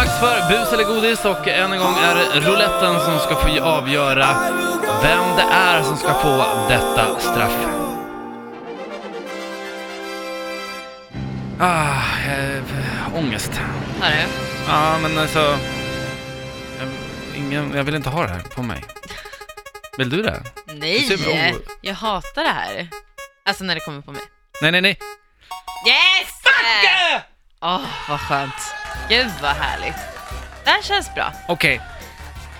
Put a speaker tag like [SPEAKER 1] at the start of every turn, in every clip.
[SPEAKER 1] för bus eller godis och än en gång är det rouletten som ska få avgöra vem det är som ska få detta straff. Ah, äh, ångest.
[SPEAKER 2] Här är
[SPEAKER 1] Ja, men alltså... jag- Ingen, jag vill inte ha det här på mig. Vill du det?
[SPEAKER 2] Nej!
[SPEAKER 1] Du ser mig o-
[SPEAKER 2] Jag hatar det här. Alltså när det kommer på mig.
[SPEAKER 1] Nej, nej, nej.
[SPEAKER 2] Yes! Åh, vad skönt. Gud vad härligt. Det här känns bra.
[SPEAKER 1] Okej,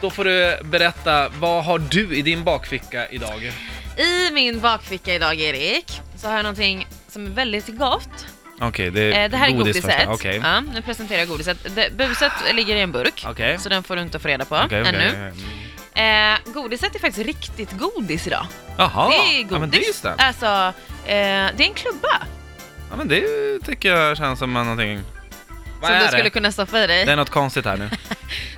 [SPEAKER 1] då får du berätta. Vad har du i din bakficka idag?
[SPEAKER 2] I min bakficka idag, Erik, så har jag någonting som är väldigt gott.
[SPEAKER 1] Okej, det
[SPEAKER 2] Eh, det här är
[SPEAKER 1] godis först.
[SPEAKER 2] godiset.
[SPEAKER 1] Okej.
[SPEAKER 2] Ja, nu presenterar jag godiset. Det, buset ligger i en burk,
[SPEAKER 1] Okej.
[SPEAKER 2] så den får du inte få reda på
[SPEAKER 1] Okej, okej.
[SPEAKER 2] ännu. Eh, godiset är faktiskt riktigt godis idag.
[SPEAKER 1] Jaha,
[SPEAKER 2] det är
[SPEAKER 1] Ah, ja, men det är ju
[SPEAKER 2] godis.
[SPEAKER 1] snällt.
[SPEAKER 2] alltså, eh, det är en klubba
[SPEAKER 1] Ja, men det tycker jag känns som någonting... Vad
[SPEAKER 2] som
[SPEAKER 1] är
[SPEAKER 2] du
[SPEAKER 1] det?
[SPEAKER 2] skulle kunna stoppa i dig.
[SPEAKER 1] Det är något konstigt här nu.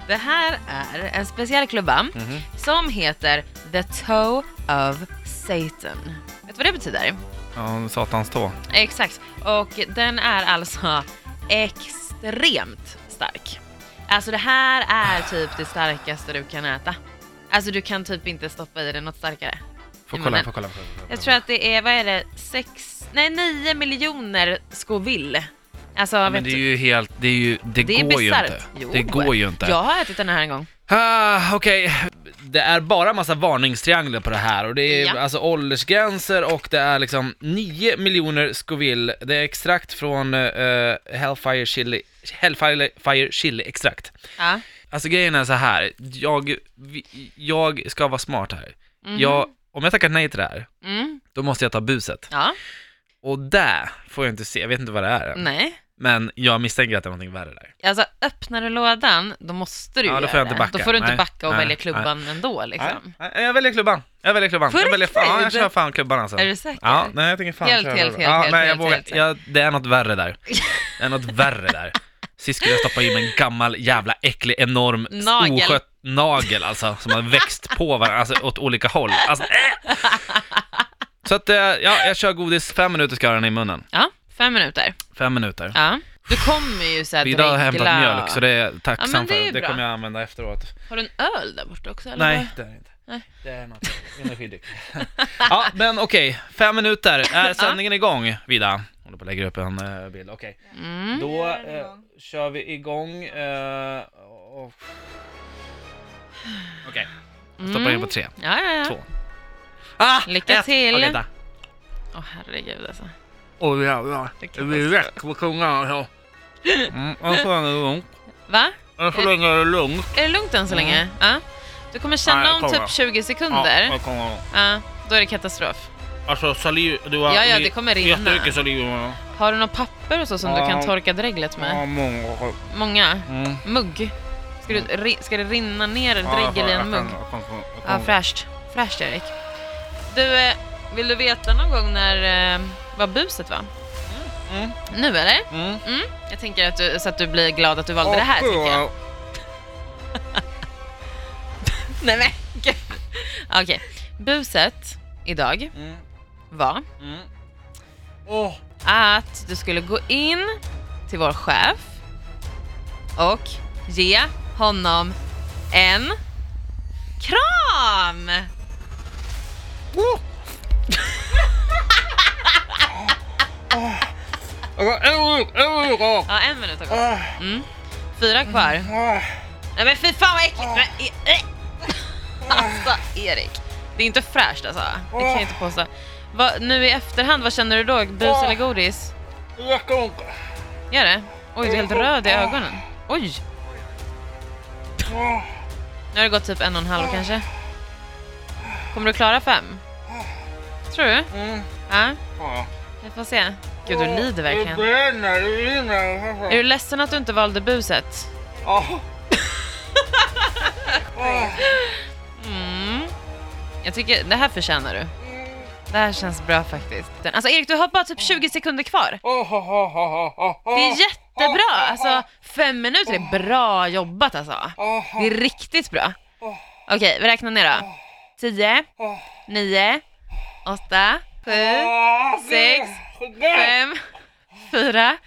[SPEAKER 2] Det här är en speciell klubba
[SPEAKER 1] Mhm.
[SPEAKER 2] som heter The Toe of Satan. Vet du vad det betyder?
[SPEAKER 1] Ja, satans tå.
[SPEAKER 2] Exakt. Och den är alltså extremt stark. Alltså det här är typ det starkaste du kan äta. Alltså du kan typ inte stoppa i dig något starkare.
[SPEAKER 1] Får
[SPEAKER 2] I
[SPEAKER 1] kolla,
[SPEAKER 2] munnen.
[SPEAKER 1] får kolla. Får kolla.
[SPEAKER 2] Jag tror att det är, vad är det, sex, nej nio miljoner Scoville. Alltså,
[SPEAKER 1] Ja,
[SPEAKER 2] jag
[SPEAKER 1] men
[SPEAKER 2] vet
[SPEAKER 1] det är ju helt... Det, är ju, det,
[SPEAKER 2] det är
[SPEAKER 1] går ju inte.
[SPEAKER 2] bisarrt. Jo.
[SPEAKER 1] Det går ju inte.
[SPEAKER 2] Jag har ätit den här en gång.
[SPEAKER 1] Ah, Okej, det är bara massa varningstriangler på det här och det är
[SPEAKER 2] Ja.
[SPEAKER 1] alltså åldersgränser och det är liksom 9 miljoner Scoville. Det är extrakt från eh, Hellfire Chili, Hellfire Fire Chili extrakt.
[SPEAKER 2] Ja.
[SPEAKER 1] Alltså grejen är så här. jag, vi- jag ska vara smart här.
[SPEAKER 2] Mhm.
[SPEAKER 1] Jag, om jag tackar nej till det här,
[SPEAKER 2] Mm.
[SPEAKER 1] då måste jag ta buset.
[SPEAKER 2] Ja.
[SPEAKER 1] Och där får jag inte se, jag vet inte vad det är än.
[SPEAKER 2] Nej.
[SPEAKER 1] Men jag misstänker att det är någonting värre där.
[SPEAKER 2] Alltså öppnar du lådan, då måste du
[SPEAKER 1] Ja, då
[SPEAKER 2] göra
[SPEAKER 1] får jag
[SPEAKER 2] det.
[SPEAKER 1] inte backa.
[SPEAKER 2] Då får du inte
[SPEAKER 1] Nej.
[SPEAKER 2] backa och
[SPEAKER 1] Nej.
[SPEAKER 2] välja klubban ändå liksom.
[SPEAKER 1] Nej, nej, jag väljer klubban. Jag väljer klubban.
[SPEAKER 2] På
[SPEAKER 1] jag väljer, fan, jag
[SPEAKER 2] riktigt?
[SPEAKER 1] kör fan klubban alltså.
[SPEAKER 2] Är du säker?
[SPEAKER 1] Ja, nej jag tänker fan
[SPEAKER 2] Helt,
[SPEAKER 1] köra
[SPEAKER 2] helt,
[SPEAKER 1] det.
[SPEAKER 2] helt,
[SPEAKER 1] ja,
[SPEAKER 2] helt,
[SPEAKER 1] nej, jag
[SPEAKER 2] helt,
[SPEAKER 1] vågar,
[SPEAKER 2] helt.
[SPEAKER 1] jag, Det är något värre där. Det är något värre där. Sist skulle jag stoppa in en gammal jävla äcklig enorm
[SPEAKER 2] Nagel.
[SPEAKER 1] oskött nagel alltså, som har växt på varandra, alltså åt olika håll. Alltså, äh! Så att, eh, ja, jag kör godis, fem minuter ska jag ha den i munnen.
[SPEAKER 2] Ja, fem minuter.
[SPEAKER 1] Fem minuter.
[SPEAKER 2] Ja. Du kommer ju såhär
[SPEAKER 1] Frida har
[SPEAKER 2] dregla.
[SPEAKER 1] hämtat mjölk, så det är jag tacksam
[SPEAKER 2] Ja, men det är
[SPEAKER 1] för.
[SPEAKER 2] ju
[SPEAKER 1] Det
[SPEAKER 2] bra.
[SPEAKER 1] kommer jag använda efteråt.
[SPEAKER 2] Har du en öl där borta också? Eller
[SPEAKER 1] Nej,
[SPEAKER 2] vad?
[SPEAKER 1] det är det inte.
[SPEAKER 2] Nej.
[SPEAKER 1] Det är något energidryck. ja, men okej. Fem minuter. Är sändningen igång, Vida? Håller på att lägga upp en eh, bild. Okej.
[SPEAKER 2] Mm.
[SPEAKER 1] Då eh, kör vi igång. eh, och... Okej, jag stoppar in på tre.
[SPEAKER 2] Ja, ja, ja.
[SPEAKER 1] Två. Ah,
[SPEAKER 2] Mm. Lycka till.
[SPEAKER 1] Okej, där.
[SPEAKER 2] Åh herregud alltså.
[SPEAKER 1] Åh jävlar.
[SPEAKER 2] Det
[SPEAKER 1] Det
[SPEAKER 2] kan
[SPEAKER 1] blir
[SPEAKER 2] vara
[SPEAKER 1] rätt på kungarna. så. Mm, än så länge är det lugnt.
[SPEAKER 2] Va?
[SPEAKER 1] Än så länge är det lugnt.
[SPEAKER 2] Är det lugnt än så länge? Ja. Du kommer känna
[SPEAKER 1] Mm. Nej, jag
[SPEAKER 2] om
[SPEAKER 1] kommer.
[SPEAKER 2] typ 20
[SPEAKER 1] Ja,
[SPEAKER 2] sekunder. Ja,
[SPEAKER 1] jag kommer-
[SPEAKER 2] då är det katastrof.
[SPEAKER 1] Alltså saliv, du har
[SPEAKER 2] Ja, ja, det kommer rinna.
[SPEAKER 1] jättemycket saliv i munnen.
[SPEAKER 2] Har du något papper och så som du
[SPEAKER 1] Ja.
[SPEAKER 2] kan torka dreglet
[SPEAKER 1] Ja,
[SPEAKER 2] med?
[SPEAKER 1] många.
[SPEAKER 2] Många?
[SPEAKER 1] Mm.
[SPEAKER 2] Mugg? Ska, du, ri, ska det rinna ner dregel i en mugg? Ja, fräscht. Fräscht Erik. Du, eh, vill du veta någon gång när, eh, vad buset var?
[SPEAKER 1] Mm.
[SPEAKER 2] Nu eller?
[SPEAKER 1] Mm.
[SPEAKER 2] Mm. Jag tänker att du, så att du blir glad att du valde det här tänker jag. Nej men gud. Okej. Buset idag
[SPEAKER 1] Mm.
[SPEAKER 2] var
[SPEAKER 1] Mm. Åh,
[SPEAKER 2] att du skulle gå in till vår chef och ge honom en kram!
[SPEAKER 1] jag har en minut, en minut kvar.
[SPEAKER 2] Ja, en minut har gått.
[SPEAKER 1] Ah,
[SPEAKER 2] Mm. Fyra kvar.
[SPEAKER 1] ah.
[SPEAKER 2] Nej men fy fan vad äckligt! Men, eh, eh. Alltså Erik, det är inte fräscht alltså. Det kan jag inte påstå. Vad- nu i efterhand, vad känner du då? Bus eller godis?
[SPEAKER 1] Det räcker inte.
[SPEAKER 2] Gör det? Oj, du är helt röd i ögonen. Oj!
[SPEAKER 1] Ah,
[SPEAKER 2] Nu har det gått typ en och en halv kanske. Kommer du klara fem? Tror du?
[SPEAKER 1] mm.
[SPEAKER 2] Ja,
[SPEAKER 1] Ah.
[SPEAKER 2] vi får se. Gud, du lider verkligen.
[SPEAKER 1] Det brinner, det brinner.
[SPEAKER 2] Är du ledsen att du inte valde buset?
[SPEAKER 1] Ah. Ah.
[SPEAKER 2] Mm. Jag tycker det här förtjänar du. Det här känns bra faktiskt. Alltså Erik, du har bara typ 20 sekunder kvar.
[SPEAKER 1] Oh, oh, oh, oh, oh, oh.
[SPEAKER 2] Det är jättebra! Alltså, fem minuter är bra jobbat alltså.
[SPEAKER 1] Oh,
[SPEAKER 2] Det är riktigt bra. Okej, vi räknar ner då. 10,
[SPEAKER 1] oh.
[SPEAKER 2] 9, 8, 7,
[SPEAKER 1] Ah,
[SPEAKER 2] sex,
[SPEAKER 1] det-
[SPEAKER 2] 5, 4,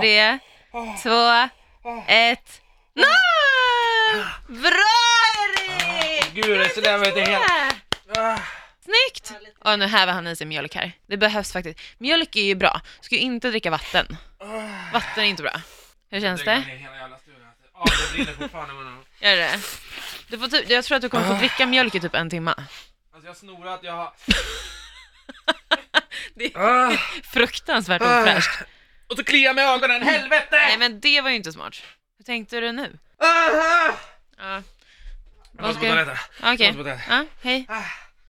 [SPEAKER 2] 3, 2, 1. Nej! Bra Erik!
[SPEAKER 1] Gud, det där var inte helt... Ah.
[SPEAKER 2] Snyggt! Och nu häver han i sig mjölk här. Det behövs faktiskt. Mjölk är ju bra. Ska ju inte dricka vatten.
[SPEAKER 1] Ah.
[SPEAKER 2] Vatten är inte bra. Hur känns det?
[SPEAKER 1] Ja, Ah, det brinner fortfarande i munnen.
[SPEAKER 2] Gör det? Du får typ, jag tror att du kommer få dricka mjölk i typ en timme.
[SPEAKER 1] Alltså jag har snorat, jag har...
[SPEAKER 2] Det är
[SPEAKER 1] Ah.
[SPEAKER 2] fruktansvärt ofräscht.
[SPEAKER 1] Och så kliar jag mig i ögonen, helvete!
[SPEAKER 2] Nej men det var ju inte smart. Hur tänkte du nu?
[SPEAKER 1] Ah, ah.
[SPEAKER 2] Ja,
[SPEAKER 1] Jag måste på
[SPEAKER 2] Okej.
[SPEAKER 1] toaletten.
[SPEAKER 2] okej.
[SPEAKER 1] Jag måste på toaletten.
[SPEAKER 2] Ja, hej.
[SPEAKER 1] Ah.